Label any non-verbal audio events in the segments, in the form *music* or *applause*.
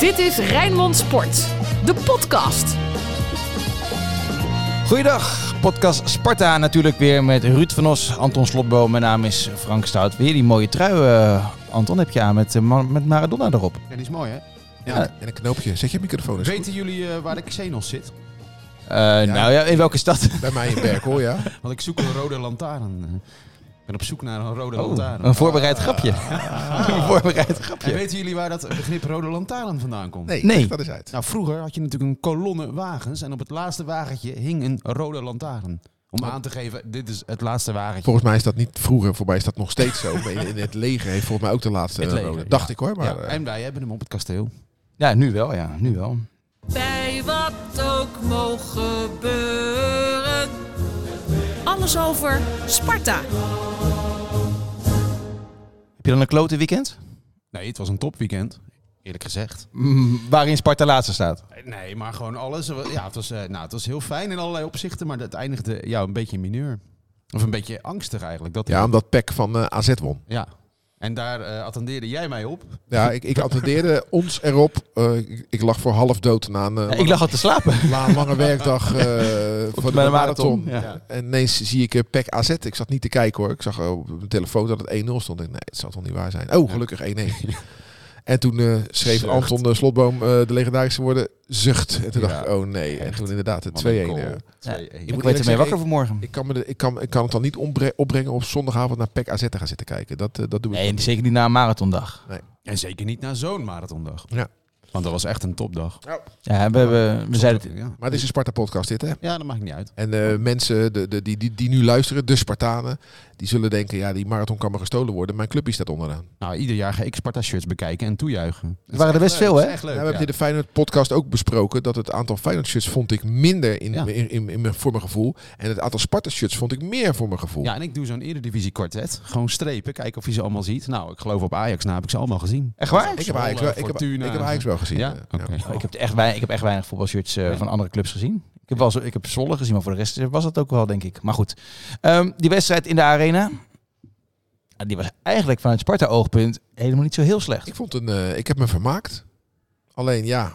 Dit is Rijnmond Sport, de podcast. Goeiedag, podcast Sparta natuurlijk weer met Ruud van Os, Anton Slotboom. Mijn naam is Frank Stout. Weer die mooie trui, eh, Anton, heb je aan met, eh, Ma- met Maradona erop. Eh, Ja, die is mooi, hè? Ja. Ja, en een knoopje. Zet je microfoon eens Weten jullie eh, waar de Xenos zit? Eh, Nou ja, in welke stad? goed. Bij mij in Berkel, ja. *laughs* Want ik zoek een rode lantaarn. Ik ben op zoek naar een rode lantaarn. *laughs* een voorbereid grapje. *laughs* een voorbereid En grapje. weten jullie waar dat begrip rode lantaarn vandaan komt? Nee, Nee. leg dat is uit. Nou, vroeger had je natuurlijk een kolonne wagens en op het laatste wagentje hing een rode lantaarn. Om aan te geven, dit is het laatste wagentje. Volgens mij is dat niet vroeger, voor mij is dat nog steeds zo. Maar In, in het leger heeft volgens mij ook de laatste Het eh, leger, rode. ja. Dacht ik hoor, maar... Ja, eh, en wij hebben hem op het kasteel. Ja, nu wel, ja, nu wel. Bij wat ook mogen gebeuren. Alles over Sparta. Heb je dan een klote weekend? Nee, het was een topweekend, eerlijk gezegd. Mm, waarin Sparta laatste staat. Nee, maar gewoon alles. Ja, het was, eh, nou, het was heel fijn in allerlei opzichten, maar het eindigde ja, een beetje mineur. Of een beetje angstig eigenlijk. Dat ja, omdat Peck van eh, AZ won. Ja. En daar eh, attendeerde jij mij op. Ja, ik, ik attendeerde ons erop. Eh, ik, ik lag voor half dood na een eh, Ja, ik lag al te *laughs* slapen. la- lange werkdag eh, voor de Bij marathon. de marathon, ja. En ineens zie ik eh, Peck AZ. Ik zat niet te kijken hoor. Ik zag eh, op mijn telefoon dat het 1-0 stond. Ik dacht, nee, het zal toch niet waar zijn. Oh, gelukkig *laughs* 1-1. En toen eh, schreef Zucht. Anton eh, Slotboom eh, de legendarische woorden zucht. En toen dacht Ja, ik, oh nee. En echt. toen inderdaad het 2-1. Ja, eh. Ik ik moet werd ermee eerlijk wakker zeggen, vanmorgen. Ik kan, me de, ik, kan, ik kan het dan niet ombre- opbrengen op zondagavond naar E PEC AZ te gaan zitten kijken. Dat, eh, dat doe ik Nee, zeker niet na een marathondag. En zeker niet na zo'n marathondag. Ja. Want dat was echt een topdag. Ja, we, we, we zeiden het. Ja. Maar het is een Sparta-podcast dit, hè? ja, dat maakt niet uit. En eh, mensen de, de, die, die, die nu luisteren, de Spartanen, die zullen denken, ja, die marathon kan maar gestolen worden. Mijn clubje staat onderaan. Nou, ieder jaar ga ik Sparta shirts bekijken en toejuichen. Er waren er best veel, hè? Echt Ja, leuk. Nou, we hebben ja. dit de Feyenoord-podcast ook besproken, dat het aantal Feyenoord-shirts vond ik minder in, Ja. in, in, in mijn- voor mijn gevoel. En het aantal Sparta-shirts vond ik meer voor mijn gevoel. Ja, en ik doe zo'n eredivisie kwartet. Gewoon strepen, kijken of je ze allemaal ziet. Nou, ik geloof op Ajax na heb ik ze allemaal gezien. Echt waar? ik, heb Ajax wel, ik, heb, Fortuna. ik heb Ajax wel gezien. Ja? eh, Oké. Oh, Ik heb, echt weinig, ik heb echt weinig voetbalshirts eh, van andere clubs gezien. Ik heb, wel, zo- ik heb Zwolle gezien, maar voor de rest eh, was dat ook wel, denk ik. Maar goed, Ehm, die wedstrijd in de arena, ah, die was eigenlijk vanuit Sparta-oogpunt helemaal niet zo heel slecht. Ik, vond een, eh, ik heb me vermaakt. Alleen ja,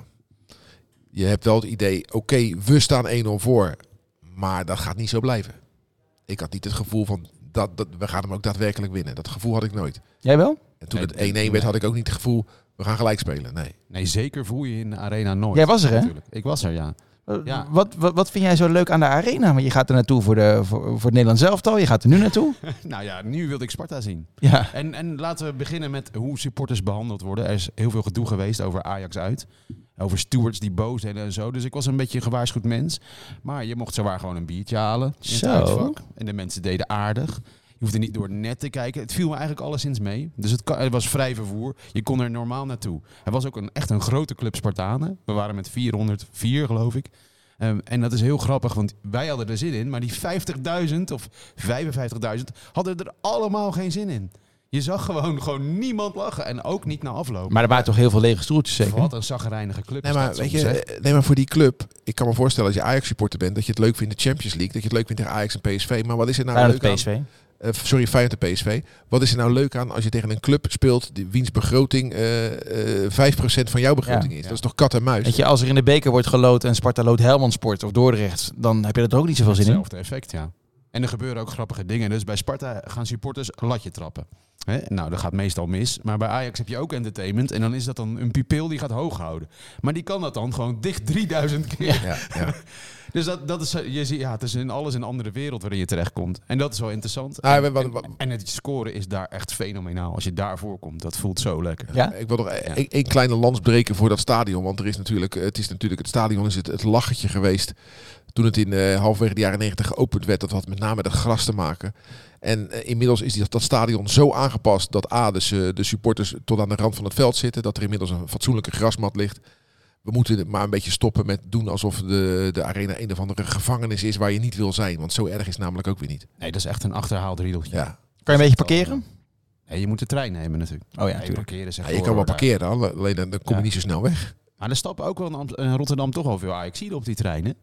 je hebt wel het idee, oké, we staan 1-0 voor. Maar dat gaat niet zo blijven. Ik had niet het gevoel van, dat, dat, we gaan hem ook daadwerkelijk winnen. Dat gevoel had ik nooit. Jij wel? En toen Nee, het 1-1 nee, nee. werd, had ik ook niet het gevoel, we gaan gelijk spelen. Nee. Nee, zeker voel je in de arena nooit. Jij was er, hè? Natuurlijk. Ik was er, *laughs* ja. Ja. Eh, Wat, wat, wat vind jij zo leuk aan de arena? Want je gaat er naartoe voor, de, voor, voor het Nederlands elftal, je gaat er nu *laughs* naartoe. nou ja, nu wilde ik Sparta zien. ja. En, en laten we beginnen met hoe supporters behandeld worden. Er is heel veel gedoe geweest over Ajax uit. Over stewards die boos zijn en zo. Dus ik was een beetje een gewaarschuwd mens. Maar je mocht zowaar gewoon een biertje halen. In Zo. Het uitvak. En de mensen deden aardig. Je hoefde niet door het net te kijken. Het viel me eigenlijk alleszins mee. Dus het, kan- het was vrij vervoer. Je kon er normaal naartoe. Het was ook een, echt een grote club Spartanen. We waren met 404, geloof ik. Ehm, en dat is heel grappig, want wij hadden er zin in. Maar die 50.000 of 55.000 hadden er allemaal geen zin in. Je zag gewoon, gewoon niemand lachen. En ook niet na afloop. Maar er waren toch heel veel lege stoeltjes, zeker? Wat een zagrijnige club. Nee is maar, dat weet soms, je, hè? eh, nee, maar voor die club, ik kan me voorstellen als je Ajax-supporter bent, dat je het leuk vindt in de Champions League, dat je het leuk vindt tegen Ajax en PSV. Maar wat is er nou Feyenoord leuk aan? PSV. Eh, sorry, Feyenoord en PSV. Wat is er nou leuk aan als je tegen een club speelt die, wiens begroting eh, eh, 5% van jouw begroting Ja. is? Dat is toch kat en muis? Weet je, als er in de beker wordt geloot en Sparta loodt Helmond Sport of Dordrecht, dan heb je er ook niet zoveel zin in. Hetzelfde effect, ja. En er gebeuren ook grappige dingen. Dus bij Sparta gaan supporters een latje trappen. Hè? Nou, dat gaat meestal mis. Maar bij Ajax heb je ook entertainment. En dan is dat dan een pupil die gaat hoog houden. Maar die kan dat dan gewoon dicht 3000 keer. Ja, ja. Dus dat, dat is, je ziet, ja, het is in alles een andere wereld waarin je terechtkomt. En dat is wel interessant. Nou, we- we- we- En het scoren is daar echt fenomenaal. Als je daarvoor komt, dat voelt zo lekker. Ja? Ik wil nog één één kleine lans breken voor dat stadion. Want er is natuurlijk, het is natuurlijk, het stadion is het, het lachertje geweest. Toen het in eh, halverwege de jaren 90 geopend werd. Dat had met name met het gras te maken. En eh, inmiddels is die, dat, dat stadion zo aangepast dat A, dus, eh, de supporters tot aan de rand van het veld zitten. Dat er inmiddels een fatsoenlijke grasmat ligt. We moeten maar een beetje stoppen met doen alsof de, de arena een of andere gevangenis is waar je niet wil zijn. Want zo erg is het namelijk ook weer niet. Nee, dat is echt een achterhaald riedeltje. Ja. Kan je een beetje parkeren? Nee, je moet de trein nemen natuurlijk. Oh ja, Nee, natuurlijk. parkeren zeg Ja, je kan wel parkeren, alleen dan, dan kom je Ja. niet zo snel weg. eh, Maar er stappen ook wel in, Amst- in Rotterdam toch al veel Ajaxiden op die treinen.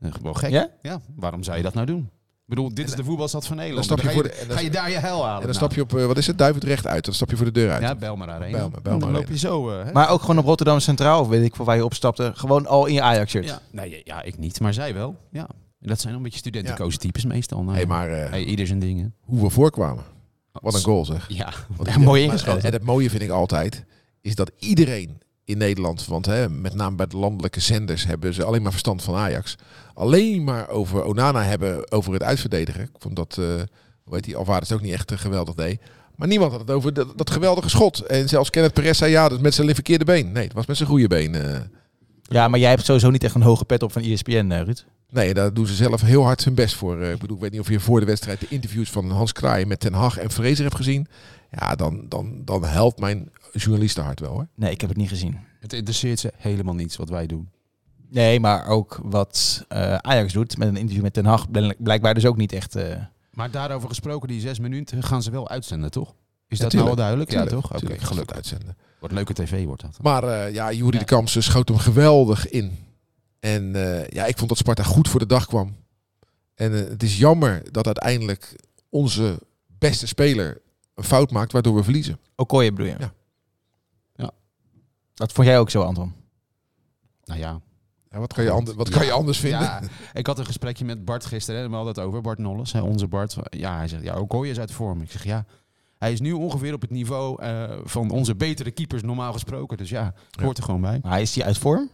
Eh, Gewoon gek. Ja? Ja, waarom zou je dat nou doen? bedoel, dit is de voetbalstad van Nederland. stap je Dan ga, voor je, de- en dan- ga je daar je hel halen? En dan stap je op, eh, wat is het, Duivend recht uit. Dan stap je voor de deur uit. nou. Ja, Belmar Arena. Bijlmer, Bijlmer dan loop Arena. je zo. eh, hè? Maar ook gewoon op Rotterdam Centraal, of weet ik voor waar je opstapte. Gewoon al in je Ajax-shirt. ja. Nee, ja, ja, ik niet, maar zij wel. Ja. Dat zijn een beetje studentenkozen types meestal. Nou, Hé, ja. maar eh, Hey, ieder zijn dingen. hoe we voorkwamen. Wat een goal zeg. Ja. Want- Ja, mooi maar- ingeschoten. En het mooie vind ik altijd, is dat iedereen in Nederland, want hè, met name bij de landelijke zenders hebben ze alleen maar verstand van Ajax. Alleen maar over Onana hebben, over het uitverdedigen. Ik vond dat, eh hoe heet die, Alvarez ook niet echt eh, geweldig deed. Maar niemand had het over dat, dat geweldige schot. En zelfs Kenneth Perez zei, ja, dat is met zijn verkeerde been. Nee, het was met zijn goede been. eh. Ja, maar jij hebt sowieso niet echt een hoge pet op van ESPN, eh, Ruud. Nee, daar doen ze zelf heel hard hun best voor. Eh, Ik bedoel, ik weet niet of je voor de wedstrijd de interviews van Hans Kraaij met Ten Hag en Fraser hebt gezien. Ja, dan, dan, dan helpt mijn journalistenhart wel hoor. Nee, ik heb het niet gezien. Het interesseert ze helemaal niets wat wij doen. Nee, maar ook wat eh, Ajax doet met een interview met Ten Hag, bl- blijkbaar dus ook niet echt. eh, Maar daarover gesproken, die zes minuten gaan ze wel uitzenden, toch? Is Ja, dat nou tuurlijk. al duidelijk? ja, Tuurlijk, toch? Oké, tuurlijk, gelukkig. goed uitzenden. Wat leuke tv wordt dat. Maar eh, ja, Juri Ja. de Kamps schoot hem geweldig in. En eh, ja, ik vond dat Sparta goed voor de dag kwam. En eh, het is jammer dat uiteindelijk onze beste speler een fout maakt waardoor we verliezen. Okoye bedoel je? Ja. Ja. Dat vond jij ook zo, Anton? Nou ja. Ja, wat kan je, ander- wat kan je anders vinden? ja. Ik had een gesprekje met Bart gisteren en we hadden het over. Bart Nolles, hè, onze Bart. Ja, hij zegt, ja, Okoye is uit vorm. Ik zeg, ja. Hij is nu ongeveer op het niveau eh, van onze betere keepers normaal gesproken. Dus ja, hoort er gewoon bij. Maar is die uit vorm?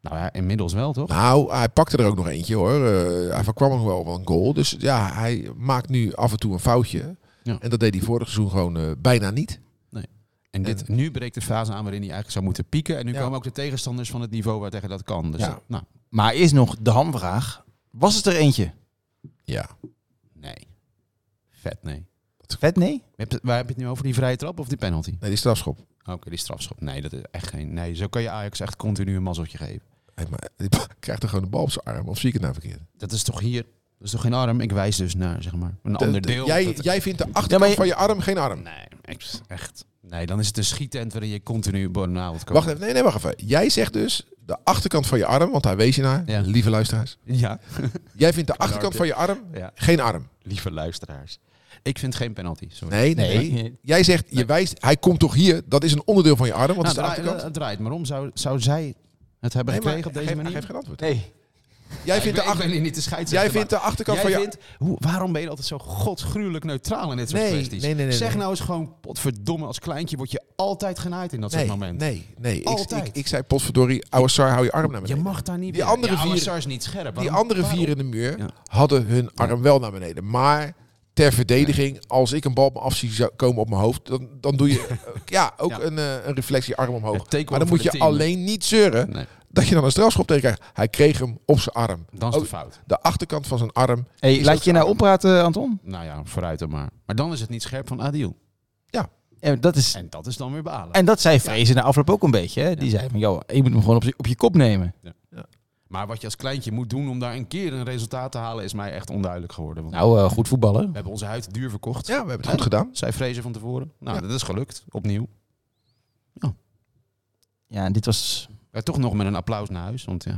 Nou ja, inmiddels wel, toch? Nou, hij pakte er ook nog eentje hoor. Eh, hij voorkwam nog wel wel een goal. Dus ja, hij maakt nu af en toe een foutje. Ja. En dat deed hij vorig seizoen gewoon eh, bijna niet. En dit, nu breekt de fase aan waarin hij eigenlijk zou moeten pieken. En nu Ja. komen ook de tegenstanders van het niveau waar tegen dat kan. Dus Ja. dat- nou, Maar is nog de hamvraag. Was het er eentje? Ja. nee. Vet, nee. Vet, nee? Heb je- Waar heb je het nu over? Die vrije trap of die penalty? Nee, die strafschop. Oké, die strafschop. Nee, dat is echt geen... Nee, zo kan je Ajax echt continu een mazzeltje geven. Hey, maar hij *laughs* krijgt er gewoon de bal op zijn arm. Of zie ik het nou verkeerd? Dat is toch hier... Dat is toch geen arm? Ik wijs dus naar, zeg maar, een De- ander de- deel. jij, Dat- jij vindt de achterkant Ja, maar je- van je arm geen arm. Nee, ik- echt. Nee, dan is het een schietent waarin je continu burn-out komt. Wacht even. Nee, nee, wacht even. Jij zegt dus de achterkant van je arm, want daar wees je naar, Ja. lieve luisteraars. Ja. *laughs* Jij vindt de achterkant van je arm ja. geen arm. Lieve luisteraars. Ik vind geen penalty, sorry. Nee, nee. Jij zegt, je wijst, hij komt toch hier, dat is een onderdeel van je arm, want Nou, dat is de draai- achterkant. eh, draait maar om. Zou, zou zij het hebben Nee, maar gekregen op deze geef- manier? Geef geen antwoord. Nee. Jij ik ben, vindt de ik ben achterkant... hier niet de scheidsrechter. Jij vindt de achterkant Jij van je vindt, hoe, waarom ben je altijd zo godsgruwelijk neutraal in dit soort Nee, kwesties? nee, nee, nee, zeg nee. nou eens gewoon, potverdomme, als kleintje word je altijd genaaid in dat nee, soort momenten. Nee, nee. Ik, Altijd. ik, ik zei potverdorie, ouwe Sar, hou je arm naar Je beneden. mag daar niet Die bij. andere ja, vier- Alassar is niet scherp. Die Waarom- andere waarom? vier in de muur Ja. hadden hun arm wel naar beneden. Maar ter verdediging, als ik een bal op me af zie zo- komen op mijn hoofd, dan, dan doe *laughs* je eh, ja, ook Ja. Een, eh, een reflectie arm omhoog. Het takeover maar dan voor moet je de team. alleen niet zeuren Nee, dat je dan een strafschop tegen krijgt. Hij kreeg hem op zijn arm. dan is het Oh, fout. De achterkant van zijn arm. Hey, Is laat dat je nou zo? oppraten, Anton? Nou ja, vooruit dan maar. Maar dan is het niet scherp van Adil. Ja, dat is, En dat is dan weer balen. en dat zei Vrezen na afloop ook een beetje. Hè? Die Ja. zei van, joh, je moet hem gewoon op, je- op je kop nemen. Maar wat je als kleintje moet doen om daar een keer een resultaat te halen, is mij echt onduidelijk geworden. Want Nou, eh, goed voetballen. we hebben onze huid duur verkocht. Ja, we hebben het goed gedaan. Zij vrezen van tevoren. Nou, Ja. dat is gelukt. Opnieuw. Ja, en dit was... Ja, toch nog met een applaus naar huis. Want ja,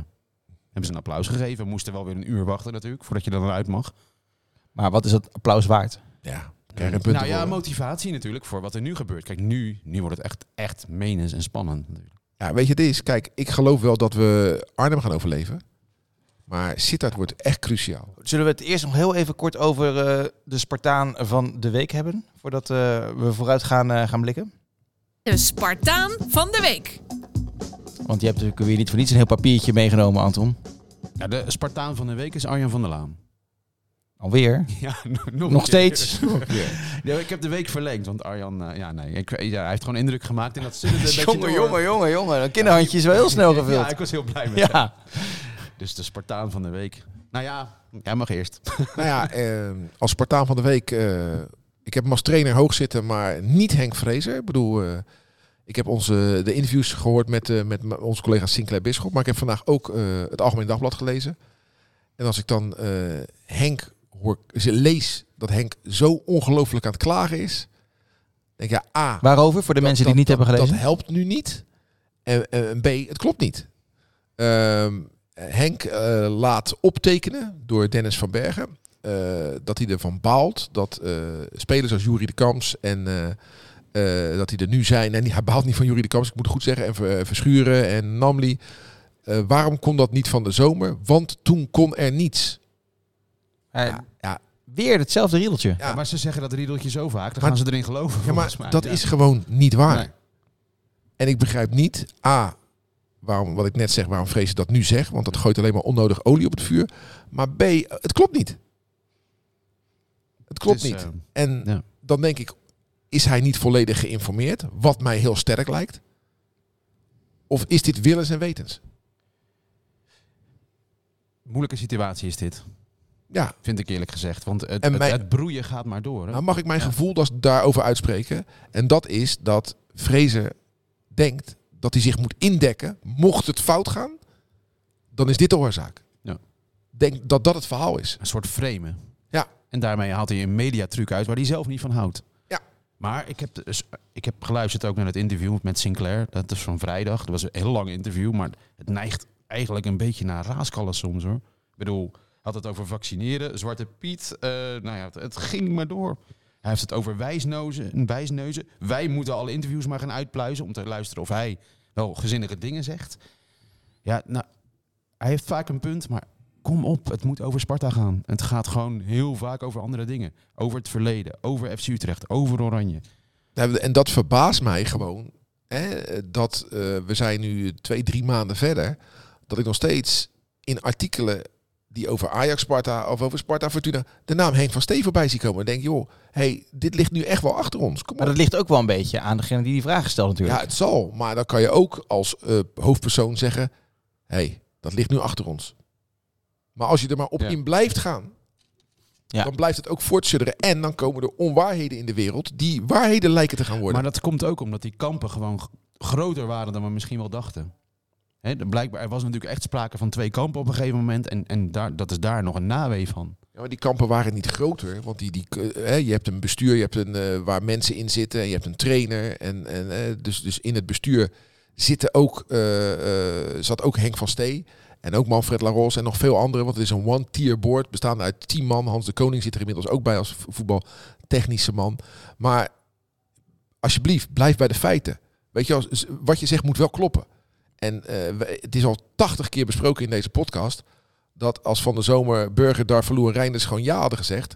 hebben ze een applaus gegeven. Moesten wel weer een uur wachten natuurlijk, voordat je er dan uit mag. Maar wat is dat applaus waard? Ja, we krijgen een punt. nou ja, ervoor. motivatie natuurlijk voor wat er nu gebeurt. Kijk, nu, nu wordt het echt, echt menens en spannend. natuurlijk. Ja, weet je, het is. Kijk, ik geloof wel dat we Arnhem gaan overleven. Maar Sittard wordt echt cruciaal. Zullen we het eerst nog heel even kort over eh, de Spartaan van de week hebben? Voordat eh, we vooruit gaan, eh, gaan blikken. De Spartaan van de week. Want je hebt natuurlijk weer niet voor niets een heel papiertje meegenomen, Anton. Ja, de Spartaan van de week is Arjan van der Laan. Alweer. *laughs* Ja, nog, nog een Nog keer. *laughs* steeds. Ja, ik heb de week verlengd, want Arjan, eh, ja nee, ik, ja, hij heeft gewoon indruk gemaakt in dat zullen een *laughs* beetje Jongen, door. jongen, jongen, jongen. Een kinderhandje is wel heel snel *laughs* Ja, gevuld. ik was heel blij met hem. Ja. Dus de Spartaan van de week. Nou ja, jij mag eerst. Nou ja, eh, als Spartaan van de Week. eh, ik heb hem als trainer hoog zitten, maar niet Henk Vrezer. Ik bedoel, eh, ik heb onze, de interviews gehoord met, eh, met m- onze collega Sinclair Bisschop. Maar ik heb vandaag ook eh, het Algemeen Dagblad gelezen. En als ik dan eh, Henk hoor, ze- lees dat Henk zo ongelooflijk aan het klagen is. denk ik, ja, A, Waarover? Voor de mensen die dat- niet hebben dat- gelezen. Dat helpt nu niet. En, en B, het klopt niet. Ehm, Henk eh, laat optekenen door Dennis van Bergen eh, dat hij ervan baalt dat eh, spelers als Jurie de Kams en eh, eh, dat die er nu zijn. En die, hij baalt niet van Jurie de Kams, ik moet het goed zeggen. En Ver- Verschuren en Namli. Eh, waarom kon dat niet van de zomer? Want toen kon er niets. Eh, Ja, ja. Weer hetzelfje riedeltje. Ja. Maar ze zeggen dat riedeltje zo vaak, dan Maar- gaan ze erin geloven. Ja, maar volgens mij. dat Ja. is gewoon niet waar. Nee. En ik begrijp niet, A, waarom, wat ik net zeg, waarom vrees ik dat nu zeg? Want dat gooit alleen maar onnodig olie op het vuur. Maar B, het klopt niet. Het klopt Het is, niet. eh, En ja. dan denk ik, is hij niet volledig geïnformeerd? Wat mij heel sterk lijkt. Of is dit willens en wetens? moeilijke situatie is dit, Ja, vind ik eerlijk gezegd. Want het, En het- mijn- het broeien gaat maar door. Hè? nou mag ik mijn gevoel das- daarover uitspreken. En dat is dat Vrezen denkt dat hij zich moet indekken. Mocht het fout gaan, dan is dit de oorzaak. Ja. Denk dat dat het verhaal is. Een soort framen. Ja. En daarmee haalt hij een mediatruc uit waar hij zelf niet van houdt. Ja. Maar ik heb, dus, ik heb geluisterd ook naar het interview met Sinclair. Dat is van vrijdag. Dat was een heel lang interview, maar het neigt eigenlijk een beetje naar raaskallen soms hoor. Ik bedoel, hij had het over vaccineren, Zwarte Piet. eh, nou ja, het, het ging maar door. Hij heeft het over wijsnozen, wijsneuzen. Wij moeten alle interviews maar gaan uitpluizen om te luisteren of hij wel gezinnige dingen zegt. Ja, nou, hij heeft vaak een punt, maar kom op, het moet over Sparta gaan. Het gaat gewoon heel vaak over andere dingen. Over het verleden, over FC Utrecht, over Oranje. Nou, En dat verbaast mij gewoon. Hè, dat eh, we zijn nu twee, drie maanden verder. Dat ik nog steeds in artikelen die over Ajax Sparta of over Sparta Fortuna de naam Henk van Steen voorbij zie komen. Dan denk ik, joh, hey, dit ligt nu echt wel achter ons. Kom Maar op. dat ligt ook wel een beetje aan degene die die vraag stelt natuurlijk. Ja, het zal. Maar dan kan je ook als eh, hoofdpersoon zeggen, hé, hey, dat ligt nu achter ons. Maar als je er maar op Ja. in blijft gaan, Ja. dan blijft het ook voortsudderen. En dan komen er onwaarheden in de wereld die waarheden lijken te gaan worden. Maar dat komt ook omdat die kampen gewoon g- groter waren dan we misschien wel dachten. Hè, de- blijkbaar, er was natuurlijk echt sprake van twee kampen op een gegeven moment. En, en daar, dat is daar nog een nawee van. Ja, maar die kampen waren niet groter, want die, die, eh, hè, je hebt een bestuur je hebt een, eh, waar mensen in zitten, en je hebt een trainer. En, en, eh, dus, dus in het bestuur zitten ook, eh, eh, zat ook Henk van Stee en ook Manfred Laros en nog veel anderen. Want het is een one-tier board bestaande uit tien man. Hans de Koning zit er inmiddels ook bij als v- voetbaltechnische man. Maar alsjeblieft, blijf bij de feiten. Weet je, wel, z- wat je zegt moet wel kloppen. En eh, we- het is al tachtig keer besproken in deze podcast dat als van de zomer Burger, Darvalu en Reinders gewoon ja hadden gezegd,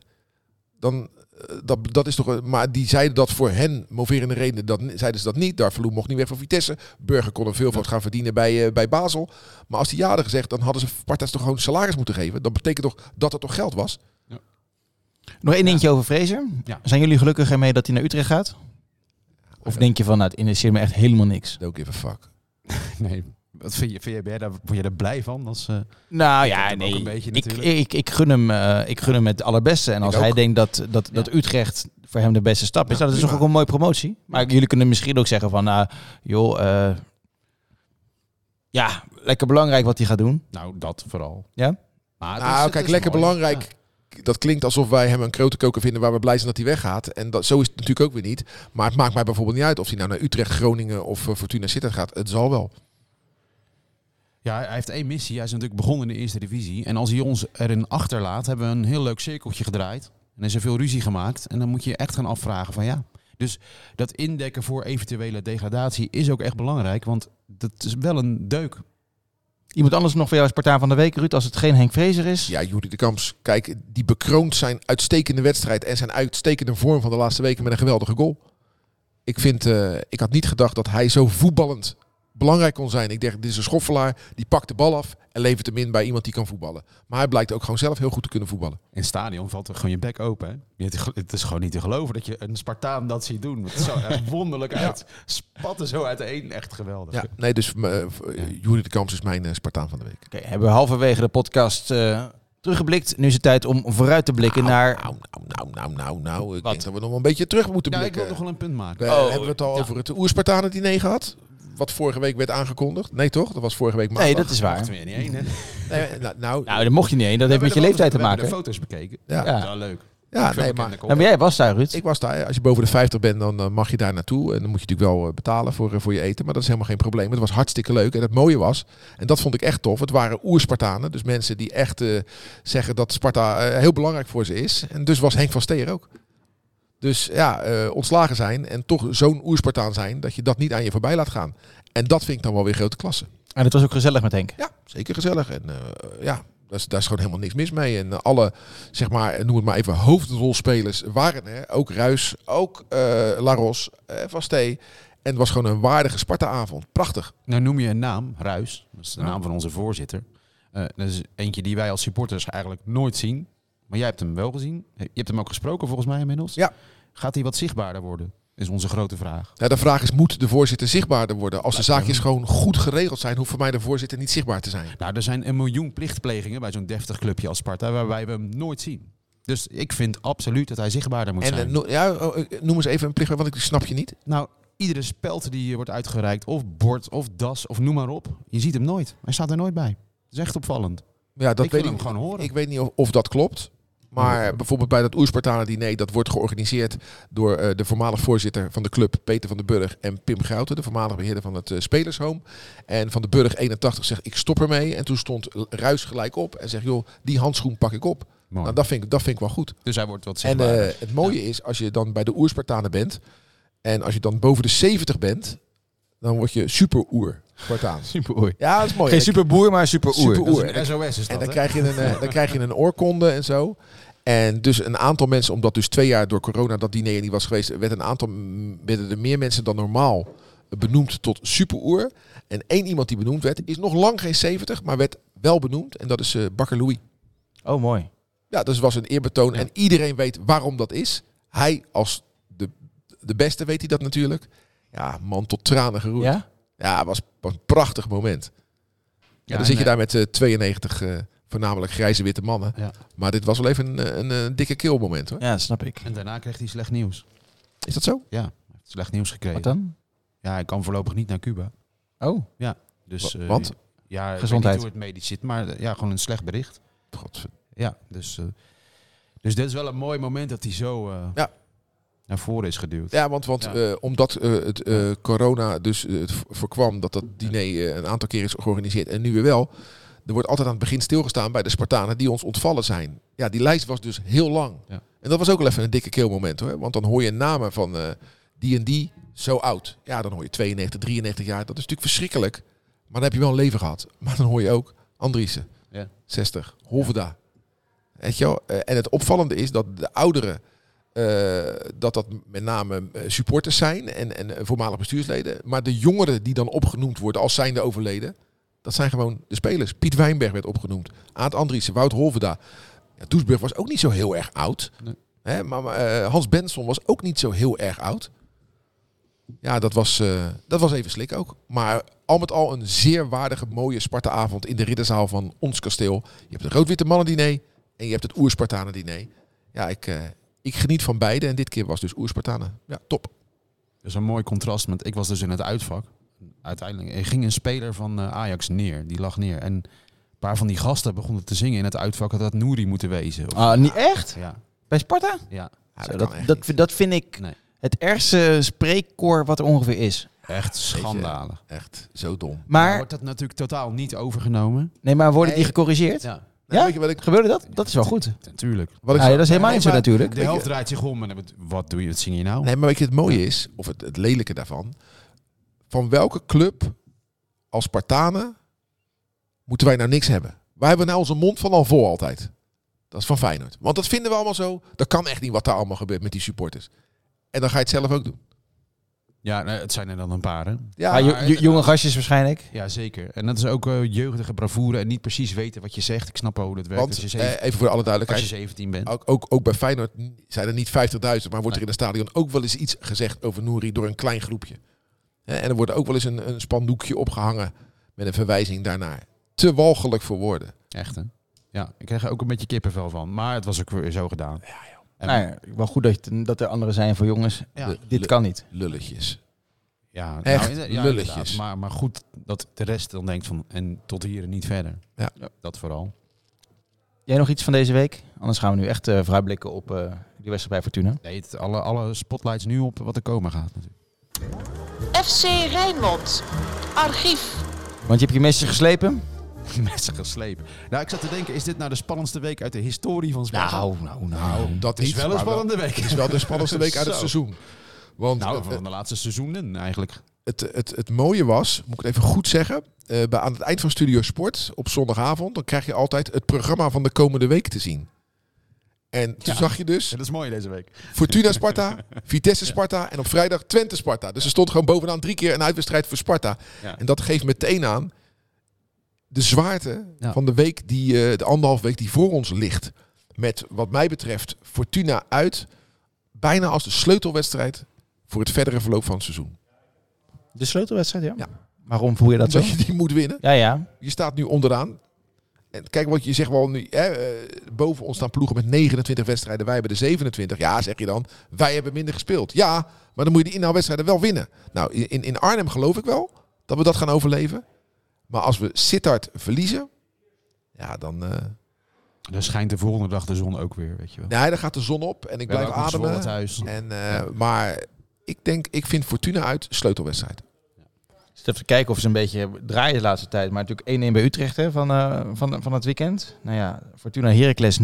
dan eh, dat, dat is toch. een- Maar die zeiden dat voor hen, moverende redenen, dat, zeiden ze dat niet. Darvalu mocht niet weg van Vitesse. Burger kon een veelvoud gaan verdienen bij, eh, bij Basel. Maar als die ja hadden gezegd, dan hadden ze Sparta's toch gewoon salaris moeten geven. Dat betekent toch dat er toch geld was? Nog één dingetje over Fraser. Ja. Zijn jullie gelukkig ermee dat hij naar Utrecht gaat? Of denk je van, nou, het interesseert me echt helemaal niks? Don't give a fuck. *laughs* Nee, wat vind je, vind je, ben je daar, word je er blij van? Als, eh, Nou ken ja, hem nee. ook een beetje ik, natuurlijk. ik, ik, gun hem, eh, ik gun hem het allerbeste. En als ook. hij denkt dat, dat, dat Utrecht voor hem de beste stap is, Ja, nou, dat is toch prima. ook een mooie promotie. Maar jullie kunnen misschien ook zeggen van, nou, joh, eh, ja, lekker belangrijk wat hij gaat doen. nou, dat vooral. Ja? Maar het is- Nou, het kijk, is lekker mooi. belangrijk. Ja. Dat klinkt alsof wij hem een krotenkoker vinden waar we blij zijn dat hij weggaat. En dat, zo is het natuurlijk ook weer niet. Maar het maakt mij bijvoorbeeld niet uit of hij nou naar Utrecht, Groningen of eh, Fortuna Sittard gaat. Het zal wel. Ja, hij heeft één missie. Hij is natuurlijk begonnen in de eerste divisie. En als hij ons erin achterlaat, hebben we een heel leuk cirkeltje gedraaid. En is er veel ruzie gemaakt. En dan moet je je echt gaan afvragen van ja. Dus dat indekken voor eventuele degradatie is ook echt belangrijk. Want dat is wel een deuk. Iemand anders nog voor jou is partij van de week, Ruud, als het geen Henk Fraser is? Ja, Jury de Kamps, kijk, die bekroont zijn uitstekende wedstrijd en zijn uitstekende vorm van de laatste weken met een geweldige goal. Ik, vind, eh, ik had niet gedacht dat hij zo voetballend belangrijk kon zijn. Ik dacht, dit is een schoffelaar, die pakt de bal af en levert hem in bij iemand die kan voetballen. Maar hij blijkt ook gewoon zelf heel goed te kunnen voetballen. In het stadion valt er gewoon je bek open. Hè? Je- het- Het is gewoon niet te geloven dat je een Spartaan dat ziet doen. Het zou echt wonderlijk uit. Spatten zo uiteen. Echt geweldig. Nou, Ja, nee, dus eh, v- eh, Jury de Kamps is mijn eh, Spartaan van de week. Oké, hebben we halverwege de podcast eh, teruggeblikt. Nu is het tijd om vooruit te blikken naar... Nou, nou, nou, nou, nou, nou. Ik Wat? denk dat we nog wel een beetje terug moeten Ja, ik blikken. wil nog wel een punt maken. We- Hebben we het al over het Oerspartanen diner gehad? Wat vorige week werd aangekondigd? Nee, toch? Dat was vorige week maandag. Nee, dat is waar. Wacht weer niet één. hè? Nee, nou, nou, Nou, daar mocht je niet heen. Dat heeft met je leeftijd te We hebben maken. de foto's bekeken. Ja. Ja, leuk. Ja, Veel nee, bekende maar kop. Nou, maar jij was daar, Ruud. ik was daar. eh, Als je boven de 50 bent, dan eh, mag je daar naartoe. En dan moet je natuurlijk wel eh, betalen voor, eh, voor je eten. Maar dat is helemaal geen probleem. Het was hartstikke leuk. En het mooie was, en dat vond ik echt tof. Het waren oerspartanen. Dus mensen die echt eh, zeggen dat Sparta eh, heel belangrijk voor ze is. En dus was Henk van Steer ook. Dus ja, eh, ontslagen zijn en toch zo'n oerspartaan zijn dat je dat niet aan je voorbij laat gaan. En dat vind ik dan wel weer grote klasse. En het was ook gezellig met Henk. Ja, zeker gezellig. En eh, ja, daar is, daar is gewoon helemaal niks mis mee. En eh, alle, zeg maar, eh, noem het maar even, hoofdrolspelers waren er. Ook Ruis, ook eh Laros, eh Van Stee. En het was gewoon een waardige Sparta-avond. Prachtig. Nou noem je een naam, Ruis. Dat is de Ja. naam van onze voorzitter. Eh, dat is eentje die wij als supporters eigenlijk nooit zien. Maar jij hebt hem wel gezien. Je hebt hem ook gesproken volgens mij inmiddels. Ja. Gaat hij wat zichtbaarder worden? Is onze grote vraag. Nou, de vraag is, moet de voorzitter zichtbaarder worden? Als de zaakjes gewoon goed geregeld zijn, hoeft voor mij de voorzitter niet zichtbaar te zijn. Nou, er zijn een miljoen plichtplegingen bij zo'n deftig clubje als Sparta waarbij we hem nooit zien. Dus ik vind absoluut dat hij zichtbaarder moet En eh, zijn. no- ja, oh, eh, noem eens even een plicht, want ik snap je niet. nou, iedere speld die hier wordt uitgereikt, of bord, of das, of noem maar op, je ziet hem nooit. Hij staat er nooit bij. Dat is echt opvallend. Ja, dat ik wil weet hem ik gewoon horen. Ik weet niet of, of dat klopt. Maar bijvoorbeeld bij dat Oerspartanen diner, dat wordt georganiseerd door eh, de voormalig voorzitter van de club, Peter van den Burg, en Pim Gouten, de voormalig beheerder van het eh, Spelershome. En van den Burg 81 zegt, ik stop ermee. En toen stond L- Ruis gelijk op en zegt, joh, die handschoen pak ik op. Mooi. Nou, dat vind ik, dat vind ik wel goed. dus hij wordt wat En eh, zichtbaarder. *laughs* het mooie is, als je dan bij de Oerspartanen bent, en als je dan boven de 70 bent, dan word je super Oer-Spartaans. Super oer. Oh Ja, dat is mooi. Geen En- superboer, maar super oer. Superoer. Dat en is een SOS is dat, en dan hè? krijg, je een, eh, dan krijg je een oorkonde en zo. En dus een aantal mensen, omdat dus twee jaar door corona dat diner niet was geweest, werd een aantal, m, werden er meer mensen dan normaal benoemd tot superoer. En één iemand die benoemd werd, is nog lang geen 70, maar werd wel benoemd. En dat is eh, Bakker Louis. Oh, mooi. Ja, dus was een eerbetoon. En iedereen weet waarom dat is. Hij als de, de beste weet hij dat natuurlijk. Ja, man, tot tranen geroerd. Ja, Ja? was, was een prachtig moment. Ja, en dan zit je en, daar met eh, 92 eh, voornamelijk grijze witte mannen. Ja. Maar dit was wel even een, eh, een, eh, dikke keelmoment hoor. Ja, dat snap ik. eh, En daarna kreeg hij slecht nieuws. Is dat zo? Ja, hij heeft slecht nieuws gekregen. Wat dan? Ja, hij kan voorlopig niet naar Cuba. Oh, Dus, Wa- eh, want? Ja, ik Gezondheid. weet niet hoe het medisch zit, maar eh, ja, gewoon een slecht bericht. Godver- Ja, dus, eh, dus dit is wel een mooi moment dat hij zo eh, Ja. naar voren is geduwd. Ja, want, want Ja. eh, omdat eh, het eh, corona dus eh, het vo- voorkwam dat dat diner eh, een aantal keer is georganiseerd en nu weer wel. Er wordt altijd aan het begin stilgestaan bij de Spartanen die ons ontvallen zijn. Ja, die lijst was dus heel lang. Ja. En dat was ook wel even een dikke keelmoment hoor. Want dan hoor je namen van eh, die en die zo oud. Ja, dan hoor je 92, 93 jaar. Dat is natuurlijk verschrikkelijk. Maar dan heb je wel een leven gehad. Maar dan hoor je ook Andriessen, Ja. 60, Hoveda. Weet je wel? Eh, en het opvallende is dat de ouderen, eh, dat dat met name eh, supporters zijn en, en eh, voormalig bestuursleden. Maar de jongeren die dan opgenoemd worden als zijnde overleden, dat zijn gewoon de spelers. Piet Wijnberg werd opgenoemd, Aad Andriessen, Wout Hoveda. Ja, Doesburg was ook niet zo heel erg oud. Nee. Hè, maar maar, eh, Hans Benson was ook niet zo heel erg oud. Ja, dat was, eh, dat was even slik ook. Maar al met al een zeer waardige, mooie Sparta-avond in de ridderzaal van ons kasteel. Je hebt het Rood-Witte Mannen-diner en je hebt het Oerspartanen-diner. Ja, ik, eh, ik geniet van beide en dit keer was dus Oerspartanen. Ja, top. Dat is een mooi contrast, want ik was dus in het uitvak. Uiteindelijk er ging een speler van eh, Ajax neer, die lag neer. En een paar van die gasten begonnen te zingen in het uitvak dat dat Nouri moeten wezen. Of- Ah, niet echt? Ja, Bij Sparta? ja, Ja, Zo, kan dat, echt dat, niet. vind- dat vind ik Nee. het ergste spreekkoor wat er ongeveer is. echt schandalig. Echt zo dom. Maar Maar, wordt dat natuurlijk totaal niet overgenomen. nee, maar worden die Nee. gecorrigeerd? Ja, Nou, Ja? weet je wat ik, Gebeurde dat? Dat is wel goed. Ah, natuurlijk. wat ik Ja, zo- dat is helemaal Nee, niet zo maar- natuurlijk. De helft draait zich om en dan wordt- wat doe je, wat zing je nou? Nee, maar weet je, het mooie is, of het, het lelijke daarvan, van welke club als Spartanen moeten wij nou niks hebben? Wij hebben nou onze mond van al vol altijd. Dat is van Feyenoord. Want dat vinden we allemaal zo. Dat kan echt niet wat daar allemaal gebeurt met die supporters. En dan ga je het zelf ook doen. Ja, nou, het zijn er dan een paar. Hè? Ja, Ah, jo- maar- jo- jonge gastjes waarschijnlijk. Ja, zeker. En dat is ook eh, jeugdige bravoure en niet precies weten wat je zegt. Ik snap wel hoe dat werkt. want dus als, je eh, Oh. zeven- even voor alle als je duidelijkheid. 17 bent. Ook, ook, ook bij Feyenoord zijn er niet 50.000, maar wordt er in het stadion ook wel eens iets gezegd over Nouri door een klein groepje. Hè, En er wordt ook wel eens een, een spandoekje opgehangen met een verwijzing daarnaar. Te walgelijk voor woorden. Echt, hè? Ja, ik krijg er ook een beetje kippenvel van. Maar het was ook weer zo gedaan. En- Nou, ja, wel goed dat, je- dat er anderen zijn voor jongens. Ja. De- Dit kan niet. lulletjes. Ja, nou, Echt inderdaad, lulletjes. inderdaad. Maar, maar goed dat de rest dan denkt van en tot hier en niet verder. Ja. Dat vooral. Jij nog iets van deze week? Anders gaan we nu echt eh, vooruitblikken op eh, die wedstrijd bij Fortuna. Nee, het- alle, alle spotlights nu op wat er komen gaat. natuurlijk. *laughs* FC Rijnmond. Archief. Want je hebt je mesje geslepen? Mensen geslepen. Nou, ik zat te denken, is dit nou de spannendste week uit de historie van Sparta? nou, Nou, dat het is wel een maar spannende week. Het is wel de spannendste week uit het *laughs* Zo. seizoen. Want Nou, eh, van de laatste seizoenen eigenlijk. het, het, het mooie was, moet ik het even goed zeggen. eh, bij, aan het eind van Studio Sport op zondagavond, dan krijg je altijd het programma van de komende week te zien. En toen Ja. zag je dus Dat is mooi deze week. Fortuna Sparta, Vitesse Sparta en op vrijdag Twente Sparta. Dus er stond gewoon bovenaan drie keer een uitwedstrijd voor Sparta. Ja. En dat geeft meteen aan de zwaarte Ja. van de week die eh, de anderhalf week die voor ons ligt. Met wat mij betreft Fortuna uit, bijna als de sleutelwedstrijd voor het verdere verloop van het seizoen. De sleutelwedstrijd, ja. Ja. Waarom voel je dat zo? Dat je die moet winnen. Ja, ja. Je staat nu onderaan. En kijk wat je zegt wel nu. Hè, eh, boven ons staan ploegen met 29 wedstrijden. Wij hebben de 27. Ja, zeg je dan. Wij hebben minder gespeeld. Ja, maar dan moet je die inhaalwedstrijden wel winnen. Nou, in, in Arnhem geloof ik wel dat we dat gaan overleven. Maar als we Sittard verliezen. Ja, dan, eh Dan schijnt de volgende dag de zon ook weer, weet je wel. nee, dan gaat de zon op. En ik blijf ademen. thuis. En, eh, maar ik denk, ik vind Fortuna uit sleutelwedstrijd. Ik zit even te kijken of ze een beetje draaien de laatste tijd. Maar natuurlijk 1-1 bij Utrecht hè, van, eh, van, van het weekend. Nou ja, Fortuna Heracles 0-2.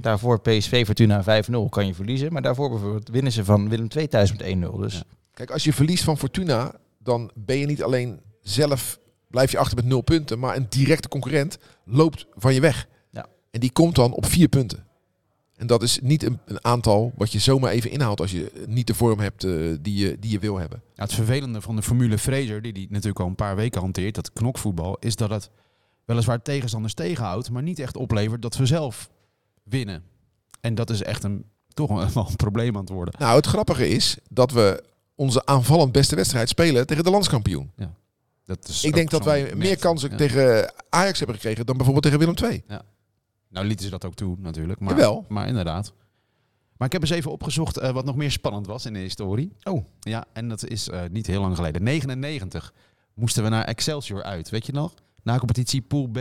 Daarvoor PSV Fortuna 5-0 kan je verliezen. Maar daarvoor bijvoorbeeld winnen ze van Willem 2000 met 1-0. Dus Ja. Kijk, als je verliest van Fortuna, dan ben je niet alleen zelf blijf je achter met nul punten, maar een directe concurrent loopt van je weg. Ja. En die komt dan op vier punten. En dat is niet een, een aantal wat je zomaar even inhaalt als je niet de vorm hebt eh, die, je, die je wil hebben. Ja, het vervelende van de Formule Fraser, die die natuurlijk al een paar weken hanteert, dat knokvoetbal, is dat het weliswaar tegenstanders tegenhoudt, maar niet echt oplevert dat we zelf winnen. En dat is echt een, toch wel *laughs* wel een probleem aan het worden. Nou, het grappige is dat we onze aanvallend beste wedstrijd spelen tegen de landskampioen. Dat is Ik ook denk dat zo'n wij meer net. kansen Ja. tegen Ajax hebben gekregen dan bijvoorbeeld tegen Willem II. Nou lieten ze dat ook toe natuurlijk, maar, Jawel. maar inderdaad. Maar ik heb eens even opgezocht eh, wat nog meer spannend was in de historie. Oh. Ja, en dat is eh, niet heel lang geleden. 99 moesten we naar Excelsior uit, weet je nog? Na competitie Pool B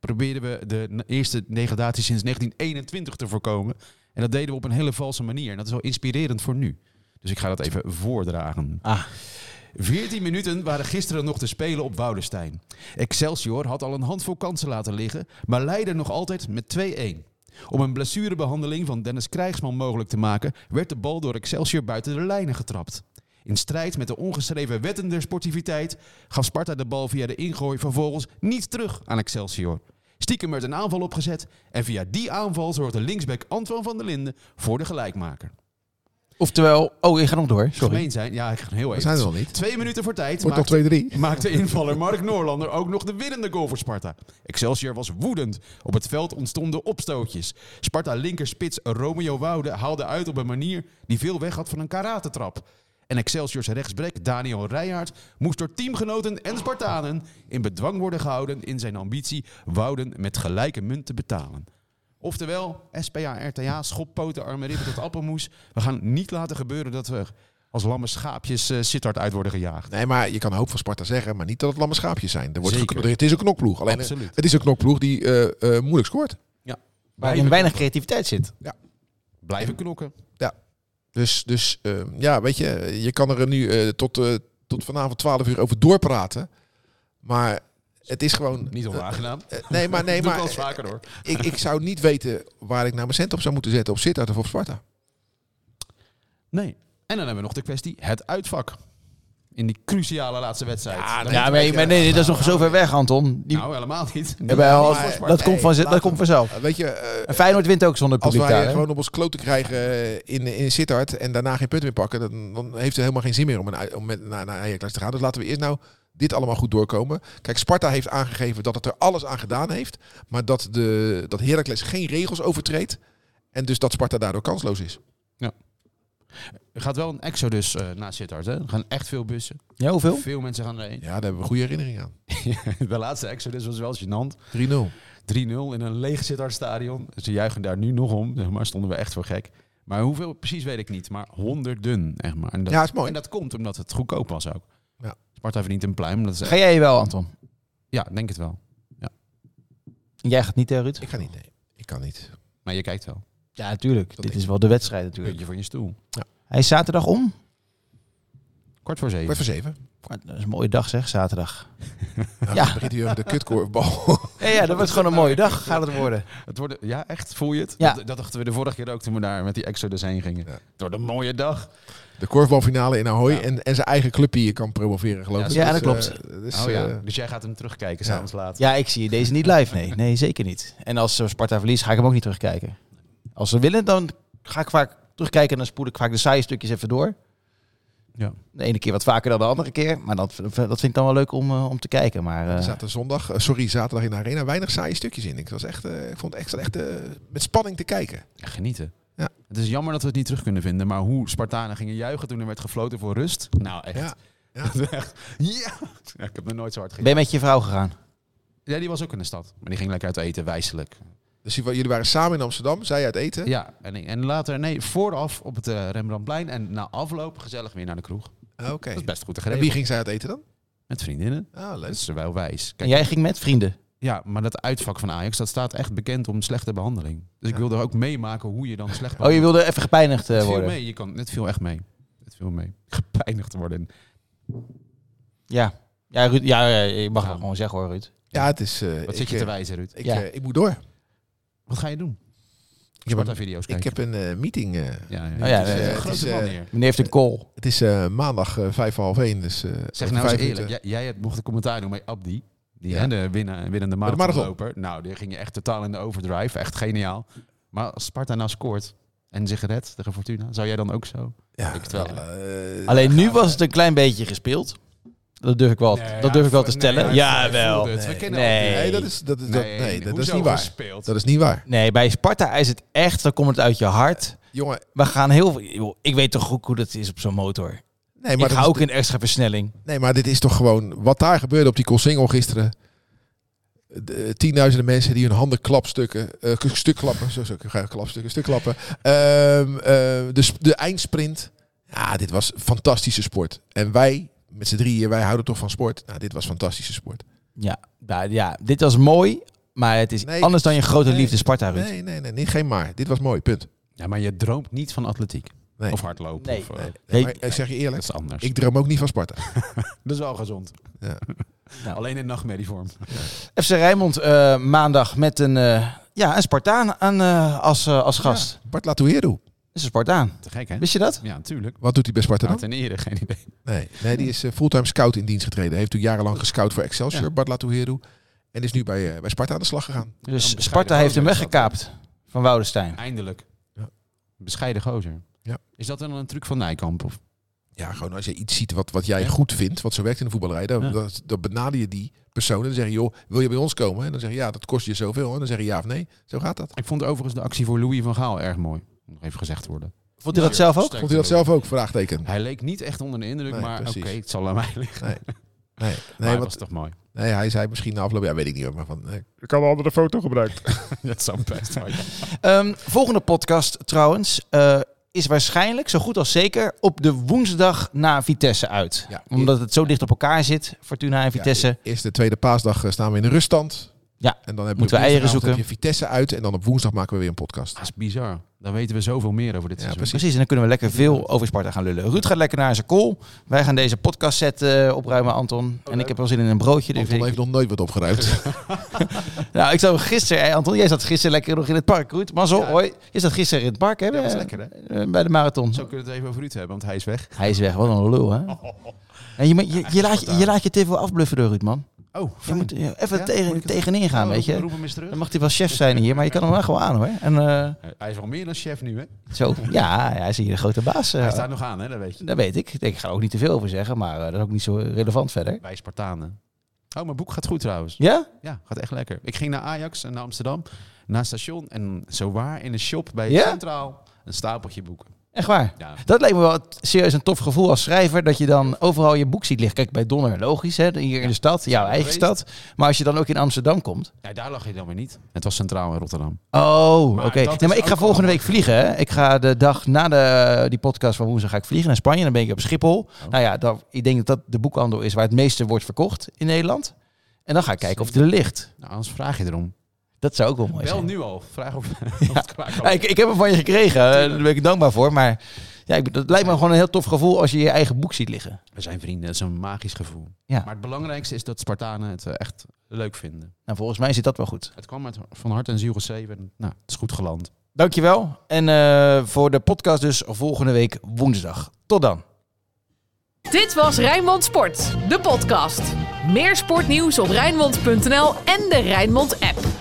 probeerden we de n- eerste degradatie sinds 1921 te voorkomen. En dat deden we op een hele valse manier. En dat is wel inspirerend voor nu. Dus ik ga dat even voordragen. Ah. 14 minuten waren gisteren nog te spelen op Woudenstein. Excelsior had al een handvol kansen laten liggen, maar leidde nog altijd met 2-1. Om een blessurebehandeling van Dennis Krijgsman mogelijk te maken, werd de bal door Excelsior buiten de lijnen getrapt. In strijd met de ongeschreven wetten der sportiviteit gaf Sparta de bal via de ingooi vervolgens niet terug aan Excelsior. Stiekem werd een aanval opgezet en via die aanval zorgde linksback Antoine van der Linden voor de gelijkmaker. Oftewel, oh, je gaat nog door. Sorry. Gemeen zijn, ja, ik ga heel even. zijn er nog niet. Twee minuten voor tijd. Wordt maakt- nog 2-3. maakte invaller Mark Noorlander ook nog de winnende goal voor Sparta. Excelsior was woedend. Op het veld ontstonden opstootjes. Sparta linkerspits Romeo Woude haalde uit op een manier die veel weg had van een karatetrap. En Excelsiors rechtsbrek Daniel Rijkaard moest door teamgenoten en Spartanen in bedwang worden gehouden in zijn ambitie Wouden met gelijke munt te betalen. Oftewel, SPA, RTA, schoppoten, arme ribben tot appelmoes. We gaan niet laten gebeuren dat we als lamme schaapjes eh Sittard uit worden gejaagd. Nee, maar je kan een hoop van Sparta zeggen, maar niet dat het lamme schaapjes zijn. Er wordt Zeker. gekno- het is een knokploeg. Alleen eh, Absoluut. het is een knokploeg die eh, eh, moeilijk scoort. Waarin weinig creativiteit zit. Blijven knokken. Dus, dus eh, ja, weet je, je kan er nu eh, tot, eh, tot vanavond 12 uur over doorpraten. Maar het is gewoon. Niet onaangenaam. *laughs* eh, nee, maar, nee, Doe ik wel maar eens vaker hoor. eh, ik, ik zou niet weten waar ik nou mijn cent op zou moeten zetten. Op Sittard of op Sparta. Nee. En dan hebben we nog de kwestie het uitvak. In die cruciale laatste wedstrijd. Dan Ja, moeten maar, maar nee, dat is nog zo ver weg, Anton. we- Die, Nou, helemaal niet. Jawel, Niet voor Sparta. dat, komt van, dat komt vanzelf. Eh, weet je, eh, En Feyenoord wint ook zonder als publiek wij daar. eh, hè? gewoon op ons kloten krijgen eh, in, in Sittard en daarna geen punten meer pakken, dan, dan heeft het helemaal geen zin meer om, een, ui- om met, naar, naar Ajax te gaan. Dus laten we eerst nou dit allemaal goed doorkomen. Kijk, Sparta heeft aangegeven dat het er alles aan gedaan heeft, maar dat, de, dat Heracles geen regels overtreedt en dus dat Sparta daardoor kansloos is. Er gaat wel een exodus eh naar Sittard. Hè? Er gaan echt veel bussen. Ja, hoeveel? Veel mensen gaan *laughs* erheen. Ja, daar hebben we goede herinneringen aan. De laatste exodus was wel gênant. 3-0 3-0. in een leeg Sittardstadion. Ze juichen daar nu nog om. Zeg maar stonden we echt voor gek. Maar hoeveel precies weet ik niet. Maar honderden. Echt maar. En dat, Ja, is mooi. en dat komt omdat het goedkoop was ook. Ja. Sparta verdient een pluim. Dat is Ga echt, jij je wel, Anton? ja, denk het wel. Jij gaat niet, hè, Ruud? Ik ga niet, nee. Ik Ik kan niet. Maar je kijkt wel. Ja, natuurlijk. Dit denk is wel de wedstrijd natuurlijk. Puntje van je stoel. Hij is zaterdag om. Kwart voor Kwart zeven. voor *laughs* zeven. Dat is een mooie dag zeg, zaterdag. Nou, Ja. Dan begint hij over de kutkorfbal. *laughs* Ja, ja, dat wordt gewoon een mooie dag gaat het worden. Het wordt, ja, echt? Voel je het? Ja. Dat, dat dachten we de vorige keer ook toen we daar met die Exodus heen gingen. Ja. Het wordt een mooie dag. De korfbalfinale in Ahoy. Ja. En, en zijn eigen club die je kan promoveren, geloof Ja, ik. ja, Dus, dat eh, dus, oh, ja. eh, dus jij gaat hem terugkijken ja. s'avonds laat. Ja, ik zie deze niet live. Nee, nee zeker niet. En als eh, Sparta verliest, ga ik hem ook niet terugkijken. Als ze willen, dan ga ik vaak terugkijken en dan spoel ik vaak de saaie stukjes even door. Ja. De ene keer wat vaker dan de andere keer. Maar dat, dat vind ik dan wel leuk om, eh, om te kijken. Maar eh, Er zaten zondag, eh, sorry, zaterdag in de arena weinig saaie stukjes in. Ik, was echt, eh, ik vond het echt, echt eh, met spanning te kijken. Ja, genieten. Ja. Het is jammer dat we het niet terug kunnen vinden, maar hoe Spartanen gingen juichen toen er werd gefloten voor rust. Nou, echt. Ja. Ja, echt. ja. Ja, ik heb nog nooit zo hard ben je gejuicht. met je vrouw gegaan? Ja, die was ook in de stad, maar die ging lekker uit eten, wijselijk. Dus jullie jullie waren samen in Amsterdam, zij uit eten. Ja, en, en later, nee, vooraf op het eh, Rembrandtplein en na afloop gezellig weer naar de kroeg. Ah, Oké. Dat is best goed te En geregeld. Dus- wie ging zij uit eten dan? Met vriendinnen. Ah, Dat leuk. is wel wijs. Kijk, En jij ging met vrienden. Ja, maar dat uitvak van Ajax, dat staat echt bekend om slechte behandeling. Dus ik Ja. wilde ook meemaken hoe je dan slecht Oh, je behandeld- wilde even gepijnigd eh, Het viel worden. mee, je kan, het viel echt mee. Het viel mee. *laughs* Gepeinigd worden. Ja. Ja, Ruud, ja, ja, je mag Ja. het gewoon zeggen hoor, Ruud. Ja, het is... eh, Wat ik, zit je te eh, wijzen, Ruud? Ik, Ja. eh, ik moet door. Wat ga je doen? Ik heb een, Sparta-video's ik kijken. heb een eh, meeting. eh, Ja, ja. Oh ja, het is, eh, eh, het grote is, man eh, hier. Meneer heeft een call. het is eh, maandag eh, vijf voor half één. Dus, eh, Zeg over nou eens vijf eerlijk, minuten. jij, jij hebt- mocht de commentaar doen bij Abdi. Die Ja. hè, de winna- winnende Bij de marathon. marathonloper. Nou, die ging je echt totaal in de overdrive. Echt geniaal. Maar als Sparta nou scoort en zich redt tegen Fortuna, zou jij dan ook zo? Ja, ik het wel. eh, Alleen nu was het een klein beetje gespeeld. Dat durf ik wel, dat durf ik wel te stellen. Jawel. We kennen Nee. Abdi. Nee, dat is, dat is, dat, nee, dat, dat is hoezo niet waar. gespeeld? Dat is niet waar. Nee, bij Sparta is het echt, dan komt het uit je hart. Jongen, We gaan heel veel... joh, Ik weet toch goed hoe dat is op zo'n motor. nee, maar ik dat ga is- ook in extra versnelling. Nee, maar dit is toch gewoon wat daar gebeurde op die Colsingel gisteren. De, eh, tienduizenden mensen die hun handen klapstukken, eh, k- stuk klappen, zo, zo, ik ga klapstukken, stuk klappen. Ehm, eh, de, sp- de eindsprint. Ja, dit was fantastische sport. En wij, met z'n drieën, wij houden toch van sport. Nou, dit was fantastische sport. Ja, nou, ja, dit was mooi, maar het is Nee, anders dan je grote nee, liefde Sparta, Ruud. Nee, nee, nee, nee, geen maar. Dit was mooi, punt. Ja, maar je droomt niet van atletiek. Nee. Of hardlopen. Nee. Of, eh, Nee, Nee, maar ik zeg je Dat eerlijk, is anders. ik droom ook niet van Sparta. dat is wel gezond. *laughs* Ja. Nou. Alleen in nachtmerrievorm. FC Rijnmond eh, maandag met een, eh, ja, een Spartaan aan, eh, als, eh, als gast. Ja, Bart Latouero, Dat is een Spartaan. Te gek, hè? Wist je dat? Ja, natuurlijk. wat doet hij bij Sparta dan? Ten ere, geen idee. Nee, nee die is eh, fulltime scout in dienst getreden. Heeft toen jarenlang gescout voor Excelsior, Ja. Bart Latouheru. En is nu bij, eh, bij Sparta aan de slag gegaan. Dus bescheiden Sparta heeft hem gozer is dat, weggekaapt van Woudenstein. Eindelijk. Ja. Bescheiden gozer. Ja. Is dat dan een truc van Nijkamp? Of? Ja, gewoon als je iets ziet wat, wat jij Ja. goed vindt, wat zo werkt in de voetballerij, dan, Ja. dan, dan benader je die persoon en dan zeg je, joh, wil je bij ons komen? En dan zeg je, ja, dat kost je zoveel. En dan zeg je ja of nee. Zo gaat dat. Ik vond overigens de actie voor Louis van Gaal erg mooi. Moet nog even gezegd worden. Vond hij dat zelf ook? Vond hij dat zelf ook? Vraagteken. Hij leek niet echt onder de indruk, Nee, maar oké, precies. het zal aan mij liggen. Nee, Nee, nee, dat was want, toch *laughs* mooi. nee hij zei misschien na afloop, ja, weet ik niet hoor, maar van... nee. Ik had een andere foto gebruikt. dat zou best mooi zijn. Ehm, volgende podcast trouwens eh, is waarschijnlijk, zo goed als zeker, op de woensdag na Vitesse uit. Ja. Omdat het zo dicht op elkaar zit, Fortuna en Vitesse. Ja, eerst de e-, tweede paasdag eh, staan we in de ruststand. Ja. En dan hebben Moeten we eieren woensdagavond zoeken. heb je Vitesse uit en dan op woensdag maken we weer een podcast. Dat is bizar. Dan weten we zoveel meer over dit Ja, seizoen. precies. Precies, en dan kunnen we lekker veel over Sparta gaan lullen. Ruud gaat lekker naar zijn kool. Wij gaan deze podcastset eh, opruimen, Anton. En ik heb wel zin in een broodje. Dus Anton ik- heeft nog nooit wat *laughs* opgeruimd. Nou, ik zat gisteren, hè, Anton, jij zat gisteren lekker nog in het park. Ruud, mazzel, Ja. hoi. Je zat gisteren in het park, hè? Ja, dat is eh, lekker, hè? eh, Bij de marathon. Zo kunnen we het even over Ruud hebben, want hij is weg. Hij is weg, wat een lul, hè? Oh. En je, moet- je, je, laat, je, je laat je te veel afbluffen door Ruud, man. Oh, Je moet eh, even Ja? tegen, Moet ik het- Oh, tegenin gaan, weet je. Roep hem eens terug. Dan mag hij wel chef zijn hier, maar je kan hem wel gewoon aan, hoor. En eh, Eh, Hij is wel meer dan chef nu, hè? *laughs* zo, ja, hij is hier de grote baas. eh. Hij staat nog aan, hè? Dat weet je. dat weet ik. Ik denk, Ik ga er ook niet te veel over zeggen, maar eh, dat is ook niet zo relevant verder. Wij Spartanen. Oh, mijn boek gaat goed trouwens. Ja? Ja, gaat echt lekker. Ik ging naar Ajax en naar Amsterdam, naar het station en zo waar in een shop bij Ja? Centraal een stapeltje boeken. Echt waar? Ja, Dat lijkt me wel t- serieus een tof gevoel als schrijver. Dat je dan overal je boek ziet liggen. Kijk, bij Donner, logisch. Hè? Hier in de stad, jouw eigen Geweest. stad. Maar als je dan ook in Amsterdam komt. Ja, daar lag je dan weer niet. Het was Centraal in Rotterdam. Oh, oké. dat Nee, is maar ik ga ook volgende wel- week vliegen. Hè? Ik ga de dag na de, die podcast van woensdag ga ik vliegen naar Spanje. Dan ben ik op Schiphol. Oh. Nou ja, dat, ik denk dat dat de boekhandel is waar het meeste wordt verkocht in Nederland. En dan ga ik kijken of die er ligt. Nou, anders vraag je erom. Dat zou ook wel mooi Bel zijn. nu al. Vraag of, *laughs* of het klaar kan. Ja, ik, ik heb hem van je gekregen. eh, Daar ben ik dankbaar voor. Maar ja, ik, dat lijkt me gewoon een heel tof gevoel als je je eigen boek ziet liggen. We zijn vrienden. Het is een magisch gevoel. Ja. Maar het belangrijkste is dat Spartanen het eh, echt leuk vinden. Nou, volgens mij zit dat wel goed. Het kwam uit, van hart en ziel geschreven. Nou, het is goed geland. Dankjewel. En eh, voor de podcast dus volgende week woensdag. Tot dan. Dit was Rijnmond Sport, de podcast. Meer sportnieuws op Rijnmond.nl en de Rijnmond app.